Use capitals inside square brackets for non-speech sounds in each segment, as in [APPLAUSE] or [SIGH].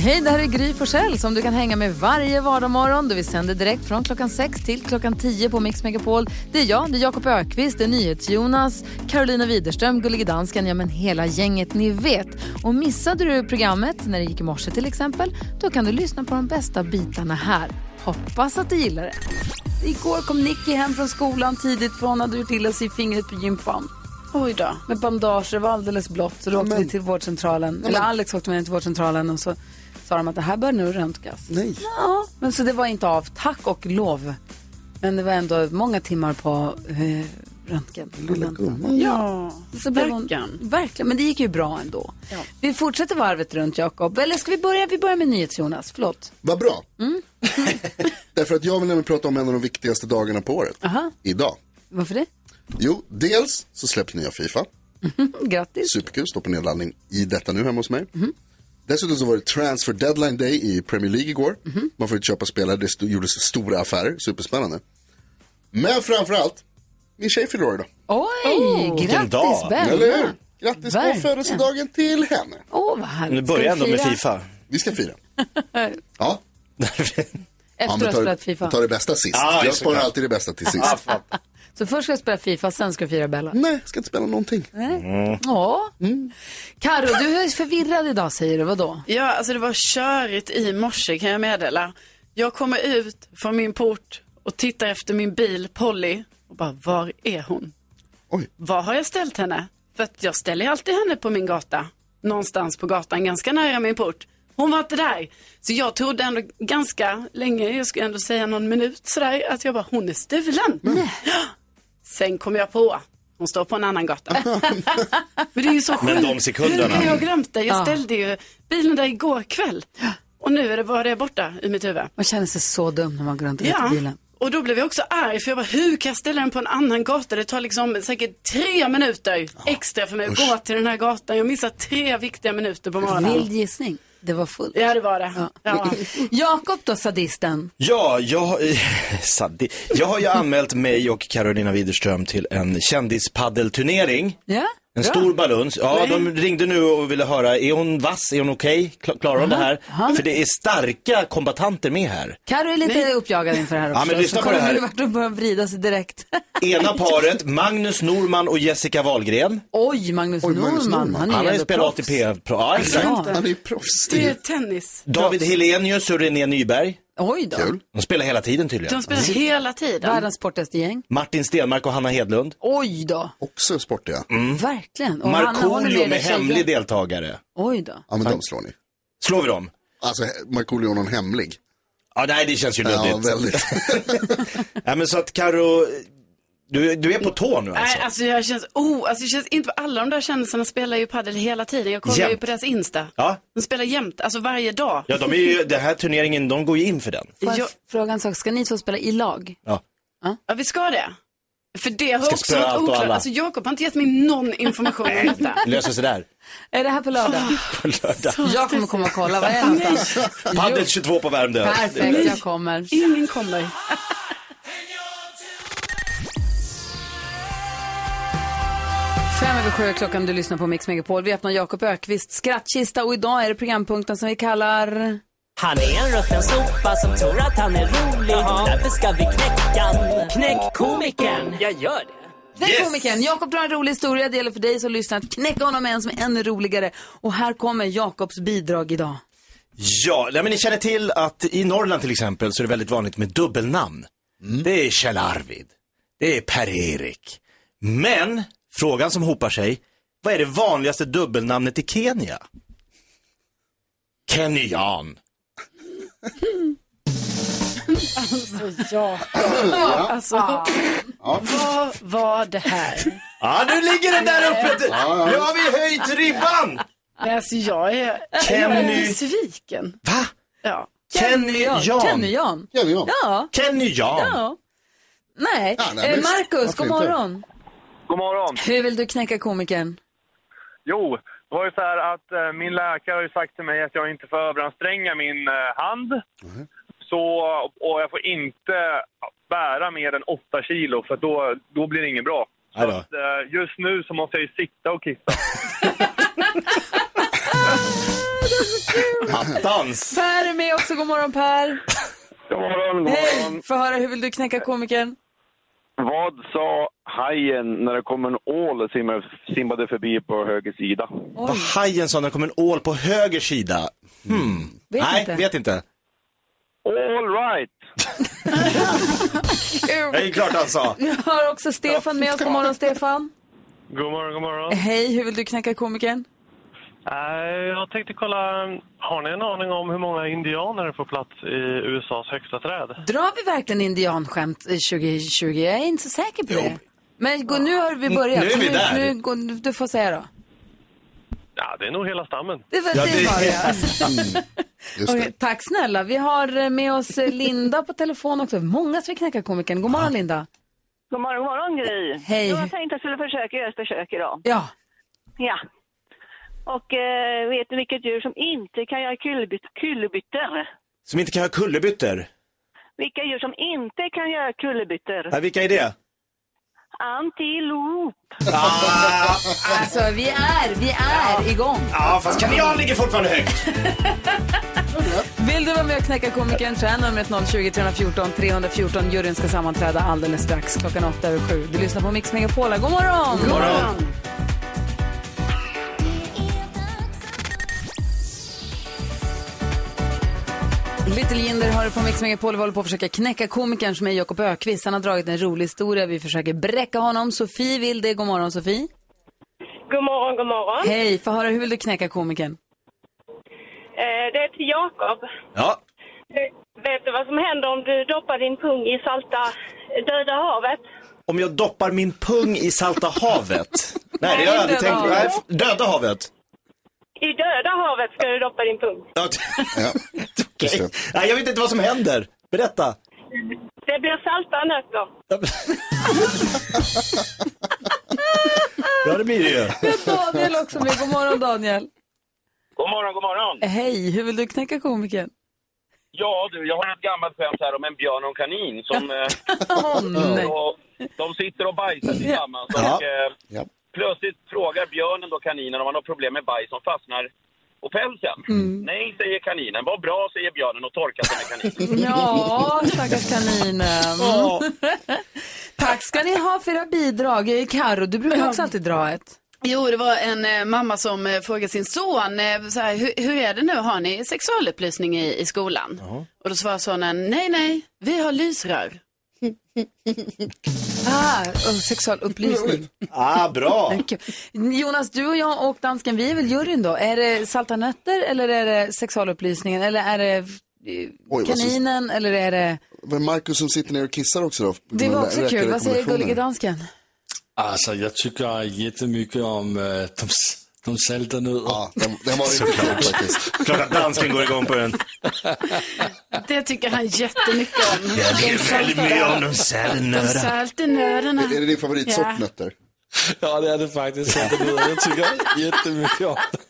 Hej, det här är Gry Forssell som du kan hänga med varje vardagsmorgon. Vi sänder direkt från klockan 6 till klockan 10 på Mix Megapol. Det är jag, det är Jakob Ökvist, det är NyhetsJonas, Carolina Widerström, Gullige Dansken, ja men hela gänget ni vet. Och missade du programmet när det gick i morse till exempel, då kan du lyssna på de bästa bitarna här. Hoppas att du gillar det. Igår kom Nicky hem från skolan tidigt för hon hade gjort illa sig i fingret på gympan. Oj då. Med bandager, det var alldeles blått. Så då åkte vi till vårdcentralen. Eller Alex åkte med till vårdcentralen och så sa de att det här bör nu röntgas. Nej. Ja, men så det var inte av. Tack och lov. Men det var ändå många timmar på eh, röntgen. Lilla gumman. Ja, så blev hon, verkligen. Men det gick ju bra ändå. Vi fortsätter varvet runt Jakob. Eller ska vi börja? Vi börjar med NyhetsJonas. Förlåt. Vad bra. Mm. [LAUGHS] Därför att jag vill nämligen prata om en av de viktigaste dagarna på året. Aha. Idag. Varför det? Jo, dels så släpps nya Fifa. Grattis. Superkul, står på nedladdning i detta nu hemma hos mig. Mhm. Dessutom så var det transfer deadline day i Premier League igår. Mhm. Man får ju köpa spelare, det st- gjordes stora affärer, superspännande. Men framförallt, min tjej fyller år idag. Oj, grattis dag. Benna. Eller hur? Grattis på Verkligen. födelsedagen till henne. Åh, vad härligt. Nu börjar Ska ändå vi med fira Fifa. Vi ska [LAUGHS] fira. Ja, Efter ja att men du ta, har spelat Fifa. ta det bästa sist. Ja, jag sparar såklart. alltid det bästa till sist. Så först ska jag spela Fifa, sen ska jag fira Bella. Nej, jag ska inte spela någonting. Ja. Karo, du är förvirrad idag säger du. Vadå? Ja, alltså det var körigt i morse kan jag meddela. Jag kommer ut från min port och tittar efter min bil Polly och bara, var är hon? Oj. Var har jag ställt henne? För att jag ställer ju alltid henne på min gata. Någonstans på gatan, ganska nära min port. Hon var inte där. Så jag trodde ändå ganska länge, jag skulle ändå säga någon minut sådär, att jag bara, hon är stulen. Ja. Sen kom jag på, hon står på en annan gata. Men det är ju så Men sjukt. de sekunderna. Hur kan jag ha glömt det? Jag ställde ju bilen där igår kväll. Och nu är det bara det borta i mitt huvud. Man känner sig så dum när man går runt och letar Ja, bilen. och då blev jag också arg för jag bara, hur kan jag ställa den på en annan gata? Det tar liksom säkert tre minuter extra för mig att gå till den här gatan. Jag missar tre viktiga minuter på Vild morgonen. gissning. Det var fullt. Ja, det var det. Ja. Ja. [LAUGHS] Jakob då, sadisten. [LAUGHS] Ja, jag, [LAUGHS] har- Sadi- jag har ju anmält mig och Carolina Widerström till en kändispaddelturnering. Ja? En stor baluns. Ja, de ringde nu och ville höra, är hon vass? Är hon okej? Kla- Klarar hon det här? För det är starka kombatanter med här. Karo är lite uppjagad inför det här också. men lyssna så på kommer det här. du vart och börjar vrida sig direkt. [LAUGHS] Ena paret, Magnus Norman och Jessica Wahlgren. Oj, Magnus, Oj, Magnus Norman. Norman. Han är Han har ju ändå spelat proffs. ATP. Ja, exakt. Ja. Han är ju proffs. Det är tennis. David Helenius och René Nyberg. Oj då. Kul. De spelar hela tiden tydligen. De spelar hela tiden. Världens sportigaste gäng. Martin Stenmark och Hanna Hedlund. Oj då. Också sportiga. Mm. Mm. Verkligen. Och han håller Markoolio med med dig, tjejer. hemlig deltagare. Oj då. Ja, men de slår ni. Slår vi dem? Alltså, he- Markoolio är någon hemlig. Ja, nej det känns ju Ja, luddigt. väldigt. Ja, men så att Karo, du, du är på tå nu alltså? äh. Nej, alltså jag känns, oh, alltså det känns inte, alla de där kändisarna spelar ju padel hela tiden. Jag kollar ju Jämt. på deras Insta. Ja. De spelar jämt, alltså varje dag. Ja, de är ju, den här turneringen, de går ju in för den. Får jag Jag- fråga en sak? Ska ni två spela i lag? Ja. Ja, vi ska det. För det har Ska också spöa allt varit och oklart. alla. Alltså Jakob har inte gett mig någon information om [LAUGHS] detta. Löser [LAUGHS] sig där. Är det här på lördag? På lördag. Jag kommer komma och kolla. Vad är det någonstans? Padel 22 på Värmdö. Perfekt, jag kommer. Ingen kommer. Fem över sju är klockan, du lyssnar på Mix Megapol. Vi öppnar Jakob Ökvist skrattkista och idag är det programpunkten som vi kallar... Han är en rutten sopa som tror att han är rolig. Därför ska vi knäcka han. Knäck komikern. Jag gör det. Den komikern. Jakob drar en rolig historia. Det gäller för dig som lyssnar att knäcka honom med en som är ännu roligare. Och här kommer Jakobs bidrag idag. Ja, nej, men ni känner till att i Norrland till exempel så är det väldigt vanligt med dubbelnamn. Det är Kjell Arvid, det är Per-Erik. Men frågan som hopar sig, vad är det vanligaste dubbelnamnet i Kenya? Kenyan. Alltså, vad var det här? Ja, nu ligger den där uppe. Nu har vi höjt ribban. Nej, alltså jag är, jag är Kenny. besviken. Va? Ja. Kenny Jan. Kenny Jan. Ja, det är jag. Ja. Kenny Jan. ja. Nej. Ja, nej, Eh, men- Marcus, varför god inte? morgon. God morgon. Hur vill du knäcka komikern? Jo, det var ju så här att eh, min läkare har ju sagt till mig att jag inte får överanstränga min eh, hand. Mm-hmm. Så, och jag får inte bära mer än 8 kilo för då, då blir det inget bra. Så Aj då. att, eh, just nu så måste jag ju sitta och kissa. Attans! Per är med också. God morgon Per. God morgon, god Hej! Få höra, hur vill du knäcka komikern? Vad sa hajen när det kom en ål och simmade, simmade förbi på höger sida? Vad hajen sa när det kom en ål på höger sida. Hmm. Vet Nej, inte. vet inte. All right! Det är klart han sa. Vi har också Stefan med oss. God morgon Stefan. God morgon, god morgon. Eh, Hej, hur vill du knäcka komikern? Jag tänkte kolla, har ni en aning om hur många indianer det får plats i USAs högsta träd? Drar vi verkligen indianskämt i 2020? Jag är inte så säker på det. Men gå, nu har vi börjat. Nu är så vi nu, där. Nu, går- du- du får säga då. Ja, det är nog hela stammen. Det var Ja, det, det- var det. Just det. Okej, tack snälla. Vi har eh, med oss eh, Linda på telefon också. Många som vill knäcka komikern. God morgon Linda. God morgon, god morgon Gry. Hej. Jag tänkte jag skulle försöka göra ett försök idag. Ja, Ja. Och eh, vet ni vilket djur som inte kan göra kullerbyt- kullerbyttor? Som inte kan ha kullerbyttor. Vilka djur som inte kan göra kullerbyttor? Nej, vilka är det? Antilop. alltså vi är, vi är igång. Ja, fast kanel ligger fortfarande högt. Vill du vara med och knäcka komikern så är numret 020 314 314. Juryn ska sammanträda alldeles strax klockan 8 över 7. Du lyssnar på Mix Megapola. God morgon! God morgon. Little Jinder har det på Mix Megapol. Vi håller på att försöka knäcka komikern som är Jakob Ökvist. Han har dragit en rolig historia. Vi försöker bräcka honom. Sofie vill det. God morgon Sofie. God morgon, god morgon. Hej, få höra hur vill du knäcka komikern? Eh, det är till Jakob. Ja. Eh, Vet du vad som händer om du doppar din pung i salta döda havet? Om jag doppar min pung i salta havet. Nej, det har jag aldrig döda tänkt. Nej, f- döda havet. I döda havet ska du doppa din pung. Ja, Ja. [LAUGHS] okej. Just det. Nej, jag vet inte vad som händer. Berätta. Det blir salta nötter. Ja, det blir det ju. Vi har Daniel också med. God morgon Daniel. God morgon, god morgon. Hej, hur vill du knäcka komikern? Ja du, jag har ett gammalt skämt här om en björn och en kanin som... [LAUGHS] eh, Åh nej. och, de sitter och bajsar tillsammans och eh, Ja. plötsligt frågar björnen då kaninen om han har problem med bajs som fastnar på pälsen. Nej, säger kaninen. Vad bra, säger björnen och torkar sig med [LAUGHS] kaninen. Ja, stackars kaninen. Ja. [LAUGHS] Tack ska ni ha för era bidrag. Karo, du brukar också alltid dra ett. Jo, det var en eh, mamma som eh, frågade sin son, eh, så här, hur, hur är det nu, har ni sexualupplysning i, i skolan? Och då svarade sonen, nej, nej, vi har lysrör. Ah, och sexualupplysning. Ah, bra. Kul. Jonas, du och jag och dansken, vi är väl juryn då. Är det salta nötter eller är det sexualupplysningen eller är det eh, vad så- kaninen eller är det... Men Marcus som sitter ner och kissar också då? Det var också Räcker kul. Vad säger rekommendationer? gullige dansken? Alltså, jag tycker jättemycket om de, de salta nötterna. Ja, den, den var riktigt bra faktiskt. Klart att dansken går igång på den. Det tycker han jättemycket [LAUGHS] om. Jag är väldigt med om de sälnöra. Salt i nöderna. Är det din favoritsort Ja. nötter? Ja, det är det faktiskt. Salta nötter. Jag tycker jättemycket om det.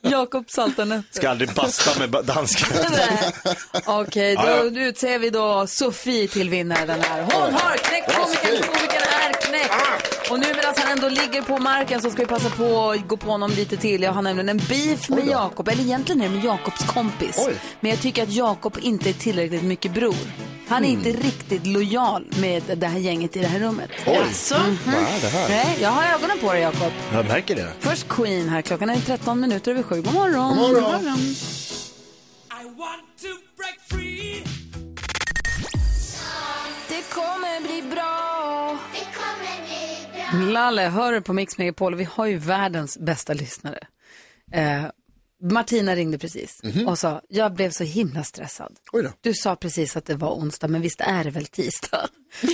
Jakob salta nötter. Ska aldrig basta med ba- dansken. Nej. [LAUGHS] Okej, Ja, då ja. nu utser vi då Sofie till vinnare den här. Hon har knäckt komikern, komikern är knäckt. Och nu medan han ändå ligger på marken så ska vi passa på att gå på honom lite till. Jag har nämligen en beef med Jakob, eller egentligen är det med Jakobs kompis. Oj. Men jag tycker att Jakob inte är tillräckligt mycket bror. Han är inte riktigt lojal med det här gänget i det här rummet. Alltså, Mm. Nej, jag har ögonen på dig Jakob. Jag märker det. Först Queen här, klockan är 13 minuter över sju. God morgon. Det kommer bli bra. Lalle, hör du på Mix Megapol? Vi har ju världens bästa lyssnare. Eh, Martina ringde precis Mhm. och sa, jag blev så himla stressad. Oj då. Du sa precis att det var onsdag, men visst är det [LAUGHS] väl tisdag?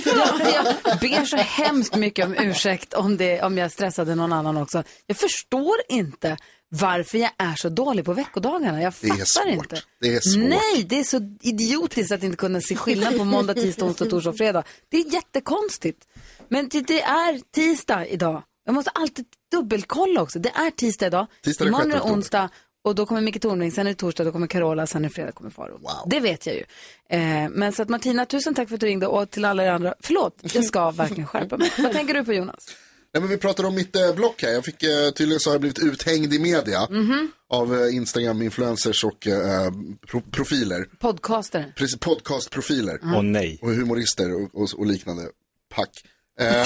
jag, jag ber så hemskt mycket om ursäkt om, det, om jag stressade någon annan också. Jag förstår inte varför jag är så dålig på veckodagarna. Jag Det är fattar svårt. inte. Det är svårt. Nej, det är så idiotiskt att inte kunna se skillnad på måndag, tisdag, onsdag, torsdag och fredag. Det är jättekonstigt. Men det, det är tisdag idag. Jag måste alltid dubbelkolla också. Det är tisdag idag. Tisdag den Imorgon är sjätte det oktober. onsdag och då kommer Micke Tornving, sen är det torsdag, då kommer Carola, sen är det fredag, kommer Faro. Det vet jag ju. Eh, men så att Martina, tusen tack för att du ringde och till alla er andra, förlåt, [LAUGHS] jag ska verkligen skärpa mig. Vad tänker du på Jonas? Nej, men vi pratade om mitt eh, block här. Jag fick, eh, tydligen så har jag blivit uthängd i media Mhm. av eh, Instagram-influencers och eh, pro- profiler. Podcaster. Precis, podcastprofiler. Åh, nej. Och humorister och, och, och liknande. Pack. Eh,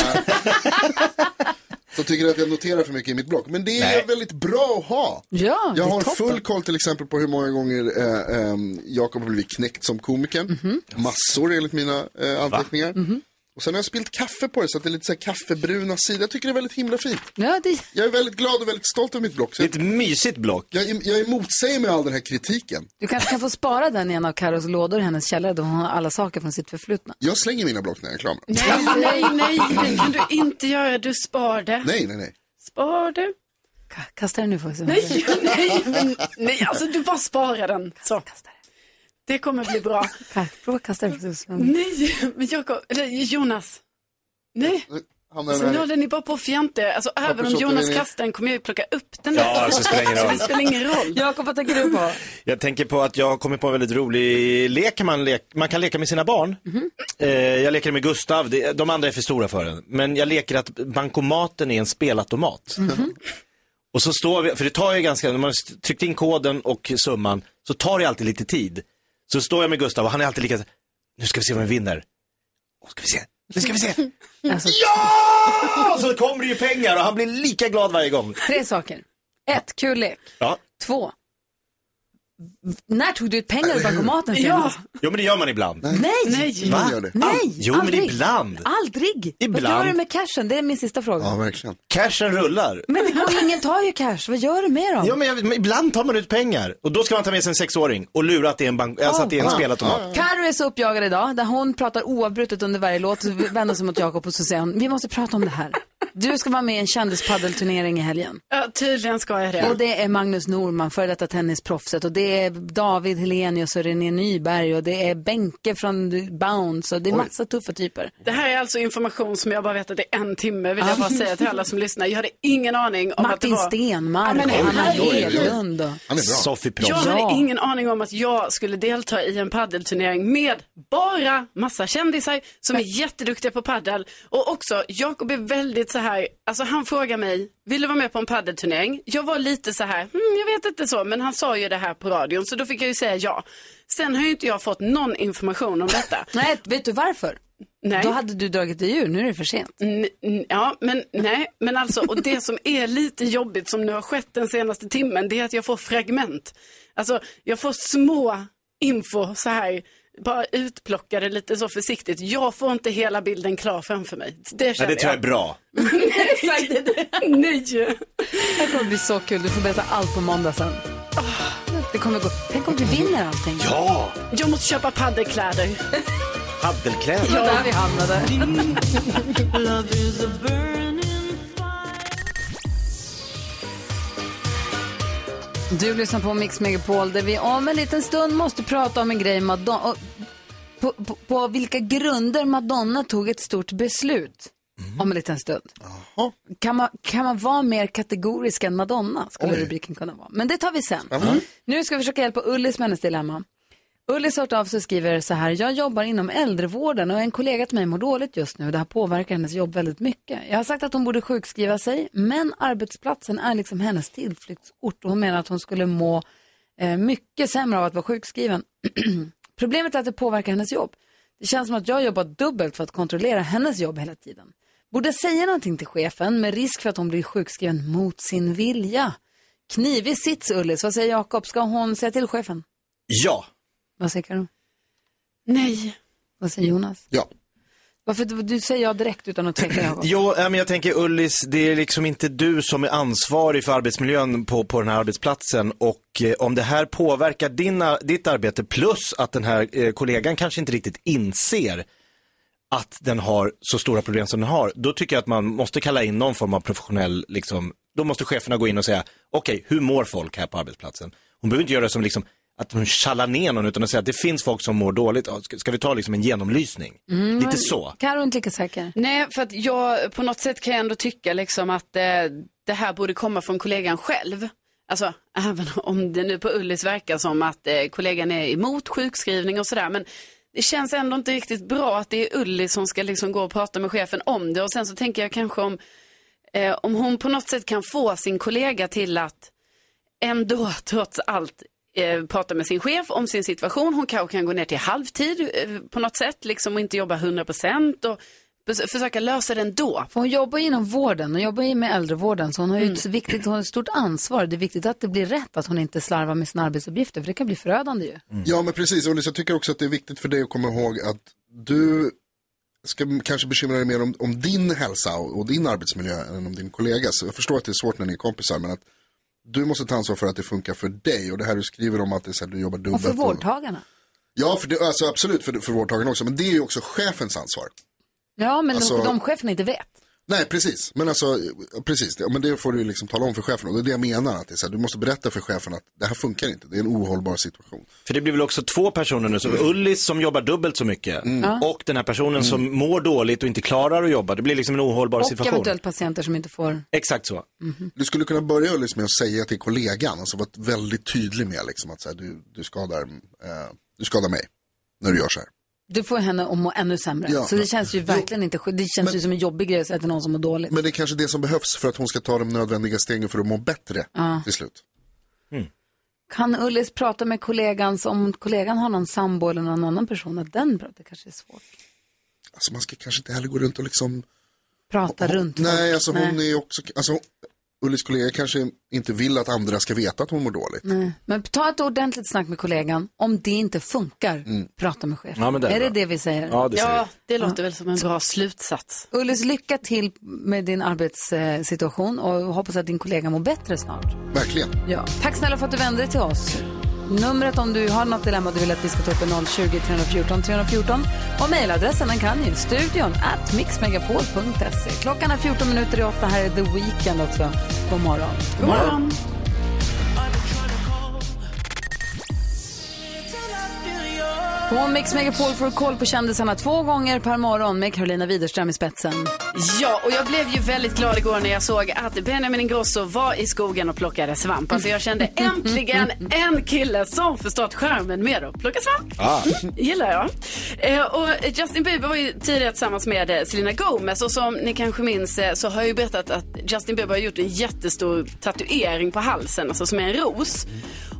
som tycker att jag noterar för mycket i mitt blogg. Men det är Nej. väldigt bra att ha. Ja, jag det är har toppen. full koll till exempel på hur många gånger eh, eh, Jakob har blivit knäckt som komiker. Mhm. Massor enligt mina eh, anteckningar. Och sen har jag spilt kaffe på det så att det är lite så här kaffebruna sidor. Jag tycker det är väldigt himla fint. Ja, det... Jag är väldigt glad och väldigt stolt över mitt block. Så Ett mysigt block. Jag, jag emotsäger mig all den här kritiken. Du kanske kan få spara den i en av Karos lådor i hennes källare då hon har alla saker från sitt förflutna. Jag slänger mina block när jag är klar med dem. Nej, nej, nej, det kan du inte göra. Du spar det. Nej, nej, nej. Spar det. Kasta den nu får vi se. Nej, nej, men, nej, alltså du bara sparar den. Så. Det kommer bli bra. Ka- Prova att kasta den. får vi se. Nej, men Jakob, eller Jonas. Nej. Hamnar Alltså, den nu här- håller ni bara på och fjantar. Alltså, även om försökte Jonas vi- kastar den kommer jag ju plocka upp den Ja, alltså, det spelar ingen Så roll. det spelar ingen roll. Jakob, vad tänker du på? Jag tänker på att jag har kommit på en väldigt rolig lek man, lek, man kan leka med sina barn. Eh, jag leker med Gustav, det, de andra är för stora för den. Men jag leker att bankomaten är en spelautomat. Och så står vi, för det tar ju ganska, när man har tryckt in koden och summan, så tar det alltid lite tid. Så står jag med Gustav och han är alltid lika, så här, nu ska vi se vem vi vinner. Och ska vi se, nu ska vi se. Alltså, Ja! Så kommer det ju pengar och han blir lika glad varje gång. Tre saker. Ett, kul lek. Ja. Två, när tog du ut pengar ur bankomaten senast? Jo men det gör man ibland. Nej! Va? Nej, Jo men aldrig. ibland. Aldrig! Vad Ibland. gör du med cashen? Det är min sista fråga. Ja, verkligen. Cashen rullar. Men det går ju, ingen tar ju cash. Vad gör du med dem? Ja, men, jag, men ibland tar man ut pengar och då ska man ta med sig en sexåring och lura att det är en, bank, alltså att det är en spelautomat. Karo är så uppjagad idag, där hon pratar oavbrutet under varje låt, så vänder hon sig mot Jakob och så säger hon, vi måste prata om det här. Du ska vara med i en kändispaddelturnering i helgen. Ja, tydligen ska jag det. Och det är Magnus Norman, före detta tennisproffset. Och det är David Helenius och René Nyberg. Och det är Benke från Bounce. Och det är massa tuffa typer. Det här är alltså information som jag bara vet att det är en timme, vill jag bara säga till alla som lyssnar. Jag hade ingen aning om att det Martin var... Stenmarck Ja, men och Anna herregud. Hedlund. och- Sofie Proffs. Jag hade ingen aning om att jag skulle delta i en paddelturnering med bara massa kändisar som är jätteduktiga på paddel. Och också, Jakob är väldigt så här, alltså han frågar mig, vill du vara med på en paddelturnering? Jag var lite så här, hmm, jag vet inte så, men han sa ju det här på radion, så då fick jag ju säga ja. Sen har ju inte jag fått någon information om detta. Nej, vet du varför? Nej. Då hade du dragit dig ur, nu är det för sent. N- n- Ja, men nej, men alltså, och det som är lite jobbigt som nu har skett den senaste timmen, det är att jag får fragment. Alltså, jag får små info så här, bara utplockade lite så försiktigt. Jag får inte hela bilden klar framför mig. Det Ja, känner det tror jag är [LAUGHS] bra. Nej. Det här kommer bli så kul, du får berätta allt på måndag sen. Ah. Det kommer gå, tänk om du vinner allting. Ja! Jag måste köpa paddelkläder. Paddelkläder. Det var där vi hamnade. Du lyssnar på Mix Megapol där vi om en liten stund måste prata om en grej Madonna, och på, på, på vilka grunder Madonna tog ett stort beslut om en liten stund. Kan man, kan man vara mer kategorisk än Madonna skulle Oj. rubriken kunna vara. Men det tar vi sen. Nu ska vi försöka hjälpa Ullis med hennes dilemma. Ullis har hört av sig och skriver så här. Jag jobbar inom äldrevården och en kollega till mig mår dåligt just nu. Det här påverkar hennes jobb väldigt mycket. Jag har sagt att hon borde sjukskriva sig, men arbetsplatsen är liksom hennes tillflyktsort och hon menar att hon skulle må eh, mycket sämre av att vara sjukskriven. [CLEARS THROAT] Problemet är att det påverkar hennes jobb. Det känns som att jag jobbar dubbelt för att kontrollera hennes jobb hela tiden. Borde jag säga någonting till chefen med risk för att hon blir sjukskriven mot sin vilja? Knivig sits Ullis, vad säger Jakob? Ska hon säga till chefen? Ja. Vad säger Karo? Nej. Vad säger Jonas? Ja. Varför du, du säger ja direkt utan att tänka Jakob? Jo, äh, men jag tänker Ullis, det är liksom inte du som är ansvarig för arbetsmiljön på, på den här arbetsplatsen och eh, om det här påverkar dina, ditt arbete plus att den här eh, kollegan kanske inte riktigt inser att den har så stora problem som den har, då tycker jag att man måste kalla in någon form av professionell, liksom, då måste cheferna gå in och säga, okej, hur mår folk här på arbetsplatsen? Hon behöver inte göra det som liksom, att de tjallar ner någon utan att säga att det finns folk som mår dåligt. Ja, Ska, ska vi ta liksom en genomlysning? Mm, Lite men- så. Karo är inte lika säker. Nej, för att jag på något sätt kan jag ändå tycka liksom att eh, det här borde komma från kollegan själv. Alltså, även [LAUGHS] om det nu på Ullis verkar som att eh, kollegan är emot sjukskrivning och sådär. Men det känns ändå inte riktigt bra att det är Ulli som ska liksom gå och prata med chefen om det. Och sen så tänker jag kanske om, eh, om hon på något sätt kan få sin kollega till att ändå trots allt eh, prata med sin chef om sin situation. Hon kanske kan gå ner till halvtid eh, på något sätt liksom, och inte jobba 100% och bes- försöka lösa det ändå. För hon jobbar ju inom vården, hon jobbar ju med äldrevården, så hon har ju ett, viktigt, hon har ett stort ansvar. Det är viktigt att det blir rätt, att hon inte slarvar med sina arbetsuppgifter, för det kan bli förödande ju. Mm. Ja, men precis. Ullis, jag tycker också att det är viktigt för dig att komma ihåg att du ska m- kanske bekymra dig mer om, om din hälsa och, och din arbetsmiljö än om din kollegas. Jag förstår att det är svårt när ni är kompisar, men att du måste ta ansvar för att det funkar för dig. Och det här du skriver om att det är så här, du jobbar dubbelt. Och för vårdtagarna. Ja, för det, alltså, absolut för, för vårdtagarna också. Men det är ju också chefens ansvar. Ja, men Alltså- de, de cheferna inte vet. Nej, precis. Men alltså, precis. Det- Men det får du liksom tala om för chefen. Och det är det jag menar. Att det är så här, du måste berätta för chefen att det här funkar inte. Det är en ohållbar situation. För det blir väl också två personer nu, så Ullis som jobbar dubbelt så mycket Ja. och den här personen som mår dåligt och inte klarar att jobba. Det blir liksom en ohållbar Och situation. eventuellt patienter som inte får... Exakt så. Du skulle kunna börja Ullis med att säga till kollegan, alltså vara väldigt tydlig med liksom, att så här, du, du, skadar, eh, du skadar mig när du gör så här. Du får henne att må ännu sämre. Ja, så det men- känns ju verkligen inte skönt. Det känns ju som en jobbig grej att säga till någon som mår dåligt. Men det är kanske det som behövs för att hon ska ta de nödvändiga stegen för att må bättre Ja. till slut. Kan Ullis prata med kollegan, så om kollegan har någon sambo eller någon annan person, att den pratar kanske är svårt. Alltså man ska kanske inte heller gå runt och liksom... Prata runt folk. Nej, alltså hon är också... Alltså, Ullis kollega kanske inte vill att andra ska veta att hon mår dåligt. Nej. Men ta ett ordentligt snack med kollegan. Om det inte funkar, Mm. prata med chefen. Ja, men det är är det bra. det vi säger? Ja, det säger Ja, det låter väl som en bra slutsats. Ullis, lycka till med din arbetssituation och hoppas att din kollega mår bättre snart. Verkligen. Ja. Tack snälla för att du vände dig till oss. Numret om du har något dilemma du vill att vi ska ta upp är 020 314 314. Och mejladressen den kan ju studion at mixmegapol.se. Klockan är 14 minuter i åtta. Här är The Weeknd också. God morgon. God morgon. På Mix Megapol får du koll på kändisarna två gånger per morgon med Carolina Widerström i spetsen. Ja, och jag blev ju väldigt glad igår när jag såg att Benjamin Ingrosso var i skogen och plockade svamp. Alltså jag kände äntligen en kille som förstått skärmen med att plocka svamp. gillar jag. Eh, och Justin Bieber var ju tidigare tillsammans med eh, Selena Gomez och som ni kanske minns eh, så har jag ju berättat att Justin Bieber har gjort en jättestor tatuering på halsen, alltså som är en ros.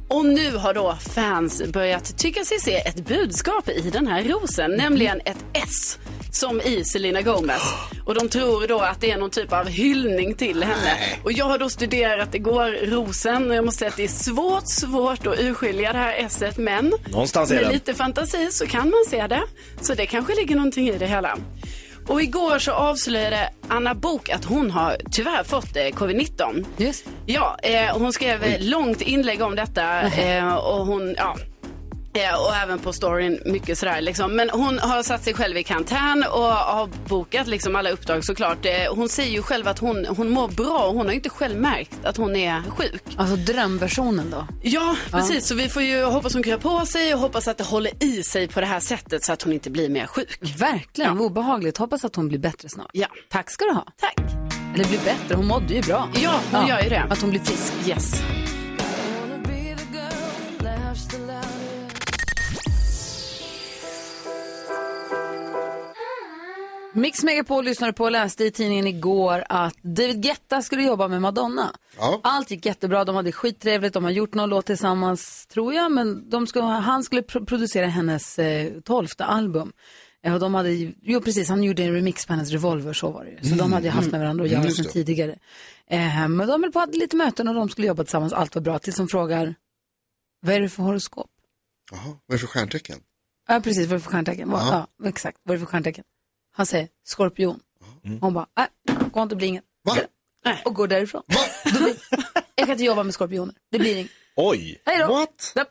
Och nu har då fans börjat tycka sig se ett budskap i den här rosen, nämligen ett S som i Selena Gomez. Och de tror då att det är någon typ av hyllning till henne. Och jag har då studerat igår rosen och jag måste säga att det är svårt, svårt att urskilja det här S men Någonstans är med den. lite fantasi så kan man se det. Så det kanske ligger någonting i det hela. Och igår så avslöjade Anna Bok att hon har tyvärr fått eh, covid-19. Just. Ja, eh, hon skrev eh, långt inlägg om detta eh, och hon, ja. Eh, Och även på storyn, mycket sådär liksom. Men hon har satt sig själv i karantän och har bokat liksom alla uppdrag såklart. Eh, Hon säger ju själv att hon, hon mår bra och hon har inte själv märkt att hon är sjuk. Alltså drömversionen då. Ja, precis. Så vi får ju hoppas hon kryar på sig och hoppas att det håller i sig på det här sättet så att hon inte blir mer sjuk. Verkligen obehagligt. Hoppas att hon blir bättre snart. Ja. Tack ska du ha. Tack. Eller blir bättre, hon mådde ju bra. Ja, hon gör ju det. Att hon blir frisk. Yes. Mix Megapol lyssnade på och läste i tidningen igår att David Guetta skulle jobba med Madonna. Allt gick jättebra, de hade skittrevligt, de har gjort någon låt tillsammans tror jag, men de skulle, han skulle pro- producera hennes eh, tolfte album. Eh, och de hade, ju- jo precis, han gjorde en remix på hennes Revolver, så var det ju. Så de Mm, hade ju haft med mm. varandra att Mm, göra just sedan det. tidigare. Eh, men de höll på hade lite möten och de skulle jobba tillsammans, allt var bra, tills de frågar, vad är det för horoskop? Jaha, vad är det för stjärntecken? Ja, precis. Vad är det för stjärntecken? Vad- Ja. Ja, exakt. Vad är det för stjärntecken? Han säger skorpion. Mm. Hon bara, nej, gå inte bli inget. Och går därifrån. [LAUGHS] Då blir- Jag kan inte jobba med skorpioner. Det blir inget. Oj! Hej då. What? Ja.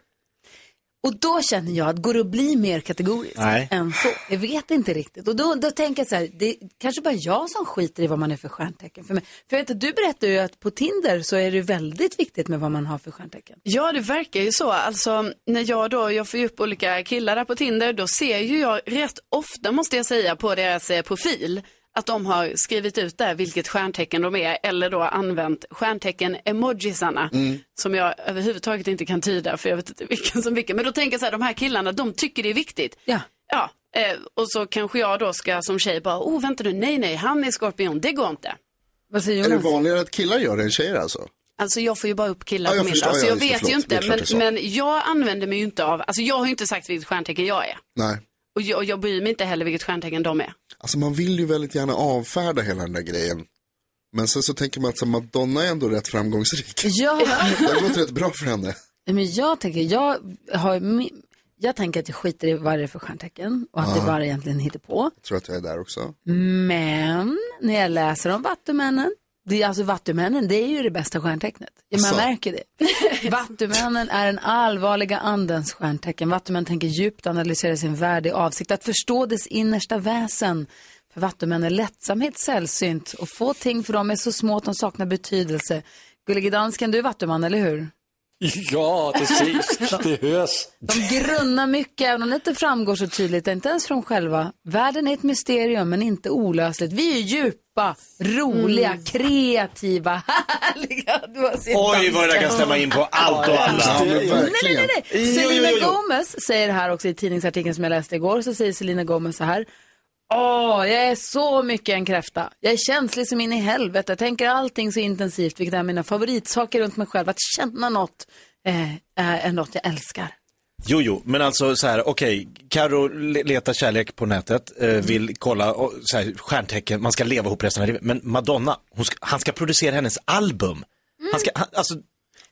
Och då känner jag att går det att bli mer kategorisk Nej. än så? Jag vet inte riktigt. Och då, då tänker jag så här, det är kanske bara jag som skiter i vad man är för stjärntecken. För, mig. för jag vet att du berättar ju att på Tinder så är det väldigt viktigt med vad man har för stjärntecken. Ja, det verkar ju så. Alltså, när jag då, jag får ju upp olika killar där på Tinder, då ser ju jag rätt ofta, måste jag säga, på deras eh, profil att de har skrivit ut där vilket stjärntecken de är eller då använt stjärntecken-emojisarna Mm. som jag överhuvudtaget inte kan tyda för jag vet inte vilken som vilken. Men då tänker jag så här, de här killarna, de tycker det är viktigt. Ja. ja eh, och så kanske jag då ska som tjej bara, oh vänta nu, nej nej, han är skorpion, det går inte. Vad säger Är det vanligare att killar gör det än tjejer alltså? Alltså jag får ju bara upp killar Ja, jag på min förstår, dag, så ja, jag just det, vet ju förlåt. Det inte. är klart det är så. Men, men jag använder mig ju inte av, alltså jag har ju inte sagt vilket stjärntecken jag är. Nej. Och jag, jag bryr mig inte heller vilket stjärntecken de är. Alltså man vill ju väldigt gärna avfärda hela den där grejen. Men sen så tänker man att så Madonna är ändå rätt framgångsrik. Ja. Det har gått rätt bra för henne. Nej, Men jag tänker, jag, har, mi- jag tänker att jag skiter i vad det är för stjärntecken och att det Ja. bara egentligen hittar på. Jag tror att jag är där också. Men när jag läser om Vattumännen, det är alltså Vattumännen, det är ju det bästa stjärntecknet. Ja, man Så. märker det. Vattumännen är den allvarliga andens stjärntecken. Vattumän tänker djupt analysera sin värld i avsikt att förstå dess innersta väsen. För Vattumän är lättsamhet sällsynt och få ting för dem är så små att de saknar betydelse. Gullige dansken, du är Vattuman, eller hur? Ja, precis. Det hörs. De grunnar mycket, även om det inte framgår så tydligt, inte ens från själva. Världen är ett mysterium, men inte olösligt. Vi är djupa, roliga, kreativa, [LAUGHS] härliga. Du har sett Oj, dansken. vad det där kan stämma in på allt och alla. Ja, men Nej, nej, Alltså, verkligen. nej, nej. Jo, jo, Selena jo, jo. Gomez säger här också i tidningsartikeln som jag läste igår, så säger Selena Gomez så här. Åh, jag är så mycket en kräfta. Jag är känslig som in i helvete. Jag tänker allting så intensivt, vilket är mina favoritsaker runt mig själv. Att känna något eh, är är något jag älskar. Jo, jo, men alltså så här, okej, Karo le- letar kärlek på nätet, eh, vill kolla och, så här, stjärntecken, man ska leva ihop resten av livet. Men Madonna, hon ska, han ska producera hennes album. Han ska, han, alltså,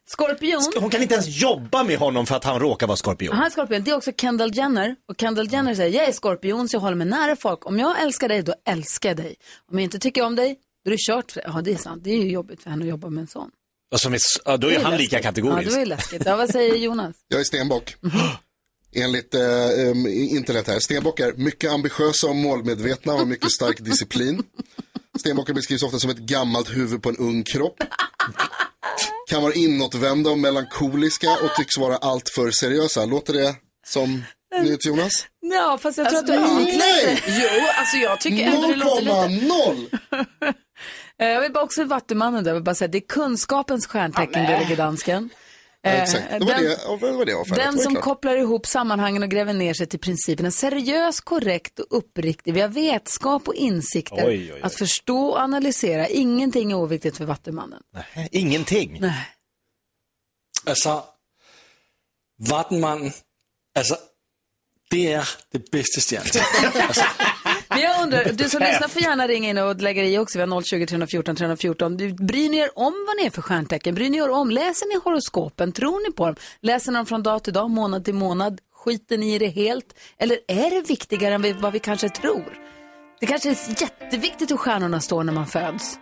Skorpion. ska, hon kan inte ens jobba med honom för att han råkar vara skorpion. Han är skorpion. Det är också Kendall Jenner. Och Kendall Jenner säger, jag är skorpion så jag håller mig nära folk. Om jag älskar dig, då älskar jag dig. Om jag inte tycker om dig, då är det kört. För... Ja, det är sant. Det är ju jobbigt för henne att jobba med en sån. Och som är, s- ja, då Det är är han läskigt. lika kategorisk. Ja, det var ju läskigt. Ja, vad säger Jonas? Jag är stenbock. Enligt eh, em, internet här. Stenbock är mycket ambitiösa och målmedvetna och har mycket [LAUGHS] stark disciplin. Stenbocken beskrivs ofta som ett gammalt huvud på en ung kropp. Kan vara inåtvända och melankoliska och tycks vara alltför seriösa. Låter det som nyhet Jonas? Ah, Ja, fast jag tror att du- Nej! Jo, alltså jag tycker ändå det låter lite... 0,0! Eh, Jag vill bara också Vattumannen där, jag vill bara säga, det är kunskapens stjärntecken, Ja, men. gullige dansken. Ja, Eh, exakt, det var den- det, ja, det, var det jag var färdig. Det Den var som klart. kopplar ihop sammanhangen och gräver ner sig till principerna. Seriös, korrekt och uppriktig. Vi har vetskap och insikter. Oj, oj, oj. Att förstå och analysera. Ingenting är oviktigt för Vattumannen. Nej, Ingenting. Nej. Altså, Vattenmannen, altså, det er det bedste stjernetegn. Men jag undrar, du som lyssnar får gärna ringa in och lägga i också. Vi har 020 314 314. Du, bryr ni er om vad ni är för stjärntecken? Bryr ni er om? Läser ni horoskopen? Tror ni på dem? Läser ni dem från dag till dag, månad till månad? Skiter ni i det helt? Eller är det viktigare än vi- vad vi kanske tror? Det kanske är jätteviktigt hur stjärnorna står när man föds.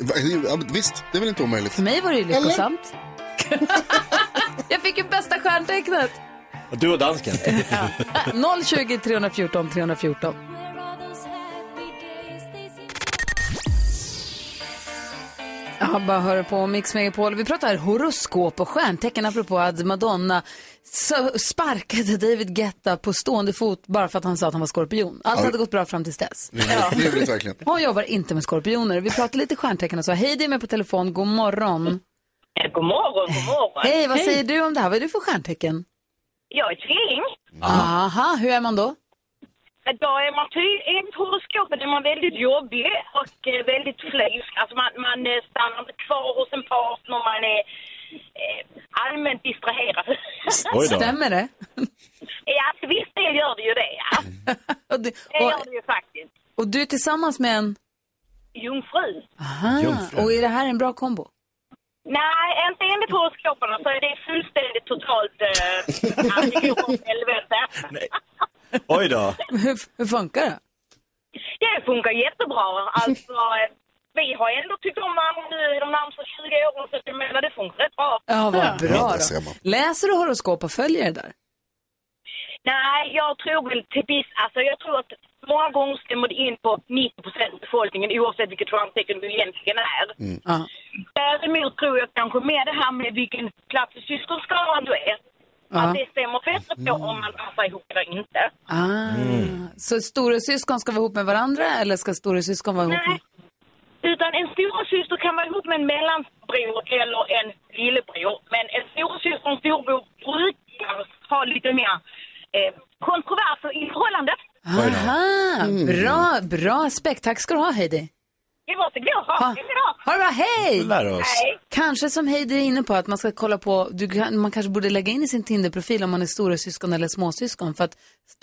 Va- ja, men Visst, det är väl inte omöjligt. För mig var det ju lyckosamt. [LAUGHS] jag fick ju bästa stjärntecknet. Du och dansken. 020 314 314. Abba hör på Mix Megapol. Vi pratar horoskop och stjärntecken apropå att Madonna s- sparkade David Guetta på stående fot bara för att han sa att han var skorpion. Allt Ja. hade gått bra fram tills dess. Ljuvligt verkligen. Hon jobbar inte med skorpioner. Vi pratar lite stjärntecken och så. Hej, det är med på telefon. God morgon. God morgon, god morgon. Hej, vad säger du om det här? Vad är du för stjärntecken? Jag är tvilling. Aha, hur är man då? Då är man ty, enligt horoskopet är man väldigt jobbig och eh, väldigt flysk. Alltså man, man eh, stannar inte kvar hos en partner, man är eh, allmänt distraherad. Stämmer det? [LAUGHS] Ja, till viss del gör det ju det. Ja. [LAUGHS] Och det, det gör det ju faktiskt. Och du är tillsammans med en? Jungfru. Aha, Jungfru. och är det här en bra kombo? [LAUGHS] Nej, inte enligt horoskoperna så är det fullständigt totalt eh, att det går åt helvete. Oj då. Hur, hur funkar det? Det funkar jättebra. [LAUGHS] Alltså, eh, vi har ändå tyckt om varandra nu i de närmaste 20 åren så jag menar det funkar rätt bra. Ja, vad bra då. då. Läser du horoskop och följer det där? Nej, jag tror väl till viss, alltså jag tror att många gånger stämmer det in på 90 procent av befolkningen oavsett vilket stjärntecken du egentligen är. Ja. Däremot tror jag kanske mer det här med vilken plats i syskonskaran du är. Ja. Att det stämmer bättre på om man passar ihop eller inte. Ah. Mm. Så storasyskon ska vara ihop med varandra eller ska storasyskon vara ihop med... Utan en storasyster kan vara ihop med en mellanbror eller en lillebror. Men en storasyster och en storbror brukar ha lite mer eh, kontroverser i förhållandet. Aha, Mm. bra, bra aspekt. Tack ska du ha Heidi. Det var så glad. Ha det bra. Ha det bra, hej! Lär oss. Hej. Kanske som Heidi är inne på att man ska kolla på, du, kan- man kanske borde lägga in i sin Tinder-profil om man är storasyskon eller småsyskon för att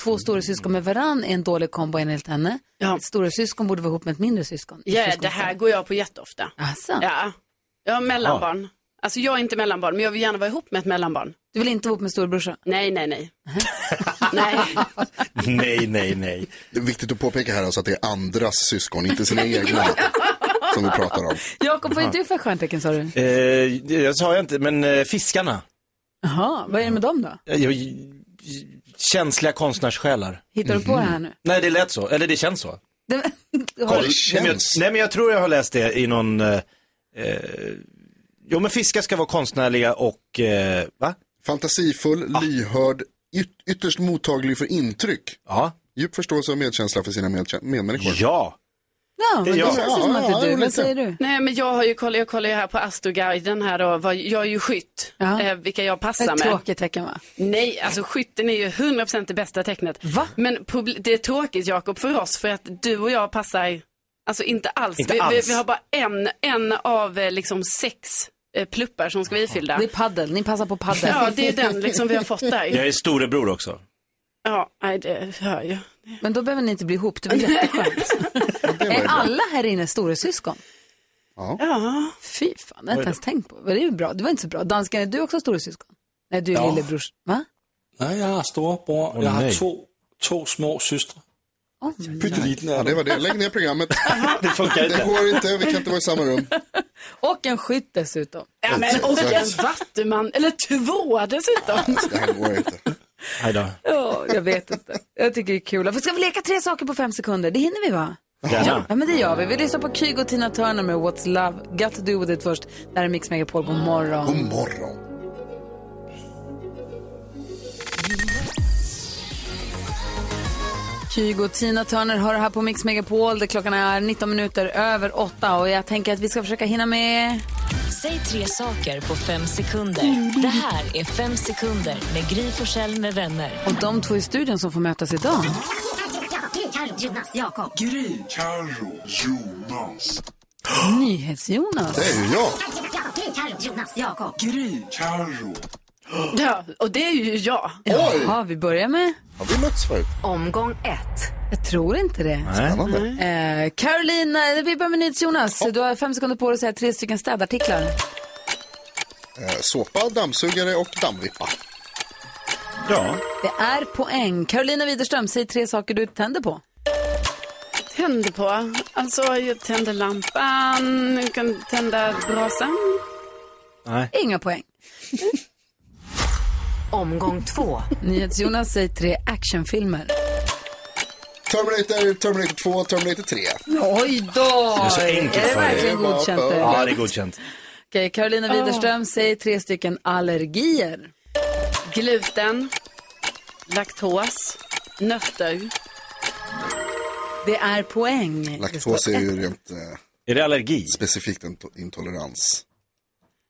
två storasyskon med varann är en dålig kombo enligt henne. Ja. Storasyskon borde vara ihop med ett mindre syskon. Ja, det här går jag på jätteofta. Asså? Ja, jag har mellanbarn. Alltså jag är inte mellanbarn, men jag vill gärna vara ihop med ett mellanbarn. Du vill inte vara ihop med storebrorsan? Nej, nej, [LAUGHS] nej. Nej, nej, nej. Det är viktigt att påpeka här alltså att det är andras syskon, inte sina [LAUGHS] egna, som vi pratar om. Jakob, vad är du för stjärntecken sa du? Eh, det sa jag inte, men eh, fiskarna. Jaha, vad är det med dem då? Eh, jag- j- Känsliga konstnärssjälar. Hittar du på det här nu? Nej, det lät så. Eller det känns så. [LAUGHS] Har- Nej, men jag, nej, men jag tror jag har läst det i någon... Eh, eh, jo, men fiskar ska vara konstnärliga och... Eh, va? Fantasifull, lyhörd, yt- ytterst mottaglig för intryck. Ja. Djup förståelse och medkänsla för sina medkä- medmänniskor. Ja. Ja, men det Ja, känns ju som ja, att det ja, är du. lite. Vad säger du? Nej, men jag har ju kollat, jag kollar ju här på Astroguiden här då, vad, jag är ju skytt, eh, vilka jag Det passar är ett med. tråkigt tecken va? Nej, alltså skytten är ju 100% det bästa tecknet. Va? Men publi- det är tråkigt Jakob för oss för att du och jag passar, alltså inte alls. Inte vi, Vi, alls. vi har bara en, en av eh, liksom sex eh, pluppar som ska bli ifyllda. Det är paddel, ni passar på paddel. Ja, det är den liksom vi har fått där. Jag är storebror också. Ja, nej, det hör jag. Men då behöver ni inte bli ihop, det var jätteskönt. är alla här inne storasyskon? Ja. ja. Fy fan, det har jag inte ens tänkt på. Det, är ju bra. det var inte så bra. Dansken, är du också storasyskon? Nej, du är Ja. lillebrors. Va? Nej, jeg har storebror. Åh, jeg har nej. to, to små søstre. Oh, Pytteliten er Ja, det var det. Lägg ner programmet. Det funkar Det går inte, vi kan inte vara i samma rum. Och en skytt dessutom. Ja, men och en vattuman, eller två dessutom. Det här går inte. Nej då. Ja, jag vet inte. Jag tycker det är kul. Ska vi leka tre saker på fem sekunder? Det hinner vi va? Gärna. Ja, men det gör vi. Vi lyssnar på Kygo och Tina Turner med What's Love. Got to do with it först. Där är Mix Megapol. God morgon. God morgon. Kygo och Tina Turner hör här på Mix Megapol där klockan är 19 minuter över 8 och jag tänker att vi ska försöka hinna med... Säg tre saker på fem sekunder. Det här är fem sekunder med Gry Forssell med vänner. Och de två i studion som får mötas idag. Jonas, Jakob. Gry. Carro, Jonas. NyhetsJonas. Det är ju jag. Jonas, Jakob. Gry. Carro. Ja, och det är ju jag. Jaha, vi börjar med... Har vi mötts förut? Omgång ett. Jag tror inte det. Nej. Spännande. Eh, Carolina, vi börjar med NyhetsJonas. Du har fem sekunder på dig att säga tre stycken städartiklar. Eh, Såpa, dammsugare och dammvippa. Ja. Det är poäng. Carolina Widerström, säg tre saker du tänder på. Tänder på, alltså jag tänder lampan, jag kan tända brasan. Nej. Inga poäng. Omgång två. NyhetsJonas, säg tre actionfilmer. Terminator, Terminator 2, Terminator 3. Oj då! Det är så enkelt Är det för dig. verkligen godkänt? det? Ja, det är godkänt. Okej, Carolina Widerström, säg tre stycken allergier. Gluten, laktos, nötter. Det är poäng. Laktos är ju rent... eh, Är det allergi? Specifikt into- intolerans.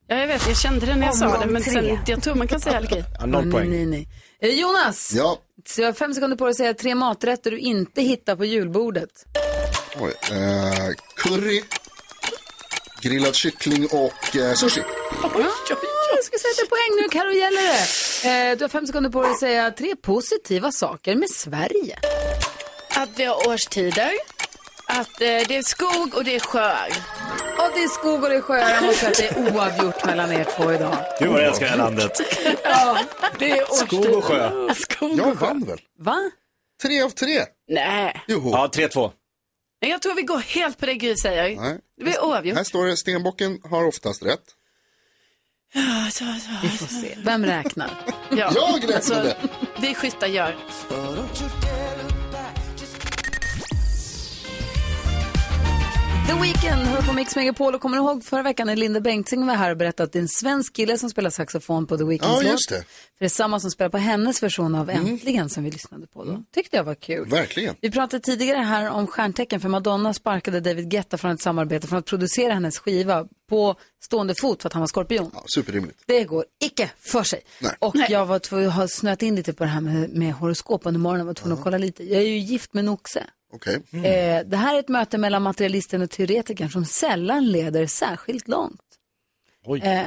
Ja, jag vet, jag kände det när jag sa Omgång det, men tre. sen, jag tror man kan [LAUGHS] säga allergi. nej, Nej, nej. Eh, Jonas, Ja. så jag har fem sekunder på dig att säga tre maträtter du inte hittar på julbordet. Oj. Eh, curry, grillad kyckling och eh, sushi. Jag ska säga att det är poäng nu, Karo gäller det. Eh, Du har fem sekunder på dig att säga tre positiva saker med Sverige. Att vi har årstider, att eh, det är skog och det är sjöar. Och det är skog och det är sjöar. Jag måste säga att det är oavgjort mellan er två idag. Gud vad jag älskar det här landet. Ja, det är årstider. Skog och sjö. Jag vann väl? Va? Tre av tre. Nej. Joho. Ja, 3-2. Nej, Jag tror vi går helt på det Gry säger. Nej. Det blir oavgjort. Här står det, stenbocken har oftast rätt. Ja, så, så, Vi får se. Vem räknar? Ja, Jag räknade. Alltså, vi skyttar gör. The Weeknd hör på Mix Megapol och kommer ihåg förra veckan när Linda Bengtzing var här och berättade att det är en svensk kille som spelar saxofon på The Weeknds Ja, låt. just det. För det är samma som spelar på hennes version av Äntligen som vi lyssnade på då. Tyckte jag var kul. Verkligen. Vi pratade tidigare här om stjärntecken för Madonna sparkade David Guetta från ett samarbete från att producera hennes skiva på stående fot för att han var skorpion. Ja, superrimligt. Det går icke för sig. Och jag var tvungen, har snöat in lite på det här med, med horoskop under morgonen, var tvungen att kolla lite. Jag är ju gift med en oxe. Okej. Eh, det här är ett möte mellan materialisten och teoretikern som sällan leder särskilt långt. Oj. Eh,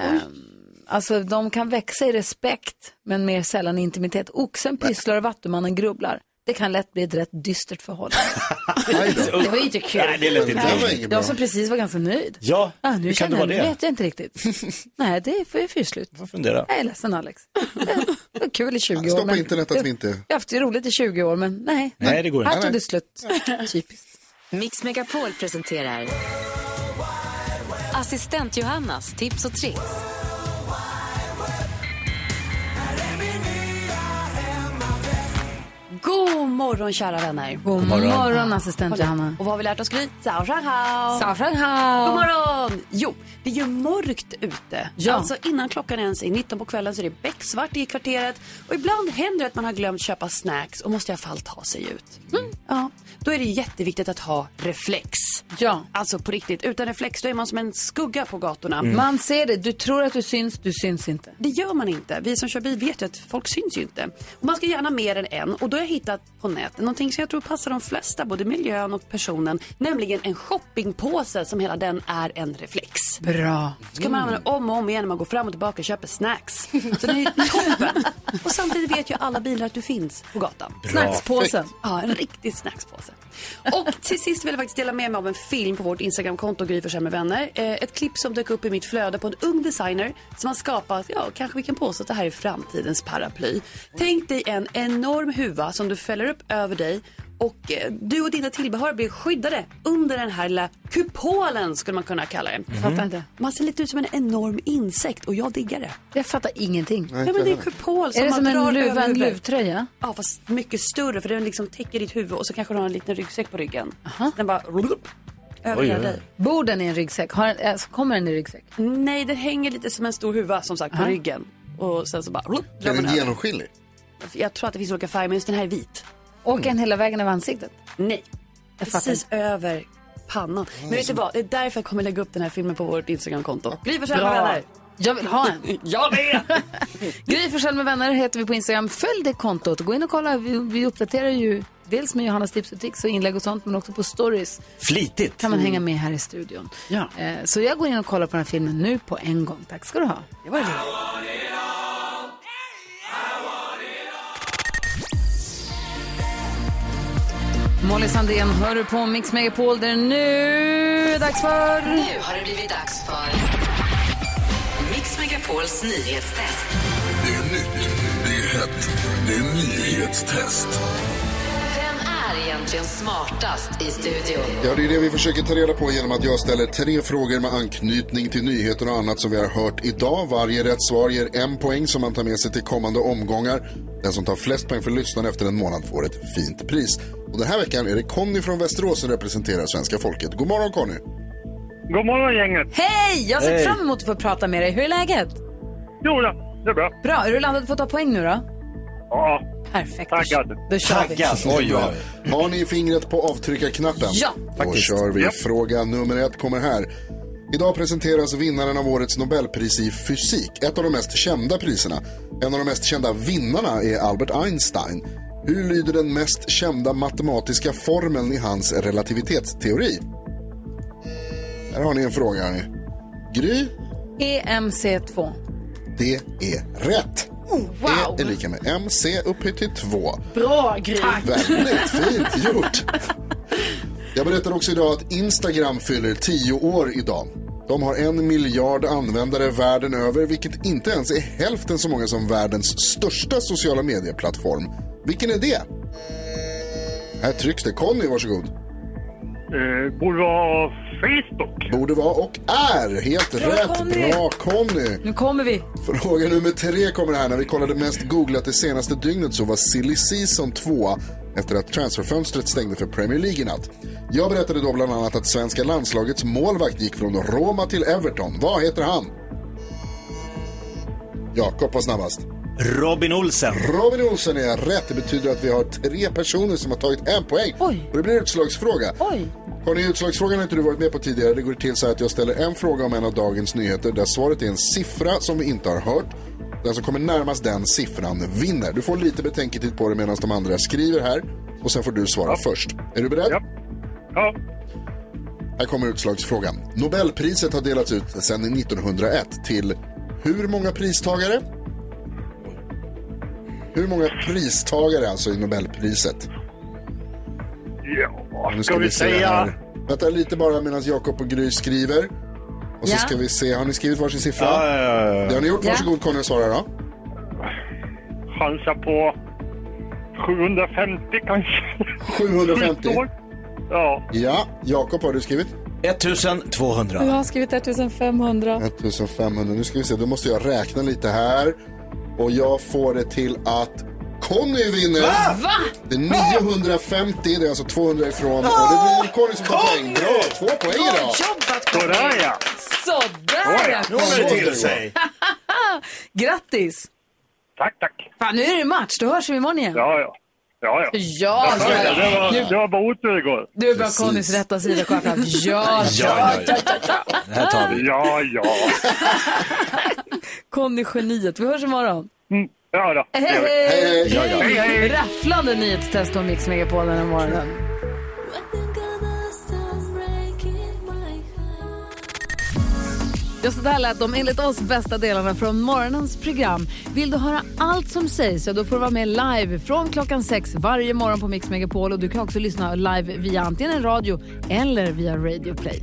alltså de kan växa i respekt men mer sällan i intimitet. Oxen pysslar och vattumannen grubblar. Det kan lätt bli ett rätt dystert förhållande. det var ju inte kul. Nej, det lät inte Nej. roligt. Jag som precis var ganska nöjd. Ja, Ah, hur nu kan känner det jag, vara nu det? vet jag inte riktigt. Nej, det får jag fyrslut. fundera. Jag är ledsen Alex. Det var kul i 20 år. Stå på men- internet att vi inte... Jag har haft det roligt i 20 år, men nej. Nej, det går inte. Här tog Nej, det nej. slut. Typiskt. Mix Megapol presenterar Assistent Johannas tips och tricks. God morgon kära vänner. God morgon. morgon, assistent Johanna. Och vad har vi lärt oss Gry? Sao Shanghao. Sao Shanghao. God morgon. Jo, det är ju mörkt ute. Ja. Alltså innan klockan ens är 19 på kvällen så är det becksvart i kvarteret. Och ibland händer det att man har glömt köpa snacks och måste i alla fall ta sig ut. Mm. Ja. Då är det jätteviktigt att ha reflex. Ja. Alltså på riktigt. Utan reflex då är man som en skugga på gatorna. Man ser det. Du tror att du syns, du syns inte. Det gör man inte. Vi som kör bil vet ju att folk syns ju inte. Och man ska gärna mer än en. Och då har jag hittat på nätet någonting som jag tror passar de flesta, både miljön och personen. Nämligen en shoppingpåse som hela den är en reflex. Bra. Så kan man använda om och om igen när man går fram och tillbaka och köper snacks. Så [LAUGHS] det är ju toppen. Och samtidigt vet ju alla bilar att du finns på gatan. Bra. Snackspåsen. Ja, en riktig snackspåse. Och till sist vill jag faktiskt dela med mig av en film på vårt Instagramkonto, Gry Forssell med vänner. Eh, Ett klipp som dök upp i mitt flöde på en ung designer som har skapat, ja, kanske vi kan påstå att det här är framtidens paraply. Tänk dig en enorm huva som du fäller upp över dig och eh, du och dina tillbehör blir skyddade under den här lilla kupolen skulle man kunna kalla den. Fattar inte. Man ser lite ut som en enorm insekt och jag diggar det. Jag fattar ingenting. Nej, men det är kupol som Är det man som drar en, luva, över en huvudet. luvtröja? Ja, fast mycket större för den liksom täcker ditt huvud och så kanske du har en liten ryggsäck på ryggen. Den bara över Oj, hela oj, oj. dig. Bor den i en ryggsäck? Har, den- alltså, kommer den i ryggsäck? Nej, den hänger lite som en stor huva som sagt på Aha. ryggen. Och sen så bara drar Är man den över. genomskinlig? Jag tror att det finns olika färger, men just den här är vit. Åker den hela vägen över ansiktet? Nej, precis fattar över pannan. Men vet du vad, det är därför jag kommer lägga upp den här filmen på vårt Instagramkonto. Gry Forssell med Bra. vänner. Jag vill ha en. [LAUGHS] jag vet! [LAUGHS] Gry Forssell med vänner heter vi på Instagram. Följ det kontot. Gå in och kolla. Vi, vi uppdaterar ju dels med Johannas tips och tricks och inlägg och sånt, men också på stories. Flitigt. kan man Mm. hänga med här i studion. Eh, Så jag går in och kollar på den här filmen nu på en gång. Tack ska du ha. Det var det. Molly Sandén hör du på Mix Megapol där det nu är dags för... Nu har det blivit dags för Mix Megapols nyhetstest. Det är nytt, det är hett, det är nyhetstest. Vem är egentligen smartast i studion? Ja, det är det vi försöker ta reda på genom att jag ställer tre frågor med anknytning till nyheter och annat som vi har hört idag. Varje rätt svar ger en poäng som man tar med sig till kommande omgångar. Den som tar flest poäng för lyssnaren efter en månad får ett fint pris. Och den här veckan är det Conny från Västerås som representerar svenska folket. God morgon Conny! God morgon gänget! Hej! Jag ser Hej. fram emot att få prata med dig. Hur är läget? Jo, ja, det är bra. Bra. Är du landad för att ta poäng nu då? Ja. Perfekt. Taggad. Då kör vi. Oj, oj. Har ni fingret på avtryckarknappen? Ja. Då Faktiskt. kör vi. Ja. Fråga nummer ett kommer här. Idag presenteras vinnaren av årets Nobelpris i fysik. Ett av de mest kända priserna. En av de mest kända vinnarna är Albert Einstein. Hur lyder den mest kända matematiska formeln i hans relativitetsteori? Här har ni en fråga. hörni. Gry, E EMC2. det är rätt. Oh, wow. Det är lika med MC upphöjt till 2. Bra Gry. Väldigt fint gjort. Jag berättar också idag att Instagram fyller 10 år idag. De har en miljard användare världen över, vilket inte ens är hälften så många som världens största sociala medieplattform. Vilken är det? Här trycks det. Conny, varsågod. Eh, borde vara Facebook. Borde vara och är helt Bra, rätt. Conny! Bra Conny! Nu kommer vi. Fråga nummer tre kommer här. När vi kollade mest googlat det senaste dygnet så var Silly Season 2 efter att transferfönstret stängde för Premier League i natt. Jag berättade då bland annat att svenska landslagets målvakt gick från Roma till Everton. Vad heter han? Jakob var snabbast. Robin Olsen. Robin Olsen är rätt. Det betyder att vi har tre personer som har tagit en poäng. Och det blir en utslagsfråga. Oj. Conny, utslagsfrågan har inte du varit med på tidigare. Det går till så här att jag ställer en fråga om en av dagens nyheter där svaret är en siffra som vi inte har hört. Den som kommer närmast den siffran vinner. Du får lite betänketid på dig medan de andra skriver här. Och sen får du svara först. Är du beredd? Ja. ja. Här kommer utslagsfrågan. Nobelpriset har delats ut sedan 1901 till hur många pristagare? Hur många pristagare alltså i Nobelpriset? Ja, Nu ska vi se säga... här. Vänta lite bara medan Jakob och Gry skriver. Och så Ja. ska vi se, har ni skrivit varsin siffra? Ja, ja, ja, ja. Det har ni gjort. Ja. Varsågod Conny och svara då. Chansa på 750 kanske. 750? Ja. Ja, Jakob vad har du skrivit? 1200. Jag har skrivit 1500. 1500. Nu ska vi se, då måste jag räkna lite här. Och jag får det till att Conny vinner. Va? Det är 950, det är alltså 200 ifrån. Och det blir Conny som tar poäng. Bra, två poäng idag. Sådär ja. Sådär ja! Nu håller det till sig. Grattis! Tack, tack. Fan, nu är det match. Då hörs vi imorgon igen. Ja, ja. Ja, Ja, ja. det, ja, ja. var, det var bara otur igår. Du är bara Connys rätta sida kom fram. Ja, Ja, ja, ja, ja. Det här tar vi. Ja, ja. Conny geniet. Vi hörs imorgon. Ja då. Hej, hej! Hej, hej. Ja, ja. Hej, hej. Rafflande nyhetstest på Mix Megapol den här morgonen. Ja, så där lät de enligt oss bästa delarna från morgonens program. Vill du höra allt som sägs så då får du vara med live från klockan sex varje morgon på Mix Megapol. Och du kan också lyssna live via antingen en radio eller via Radio Play.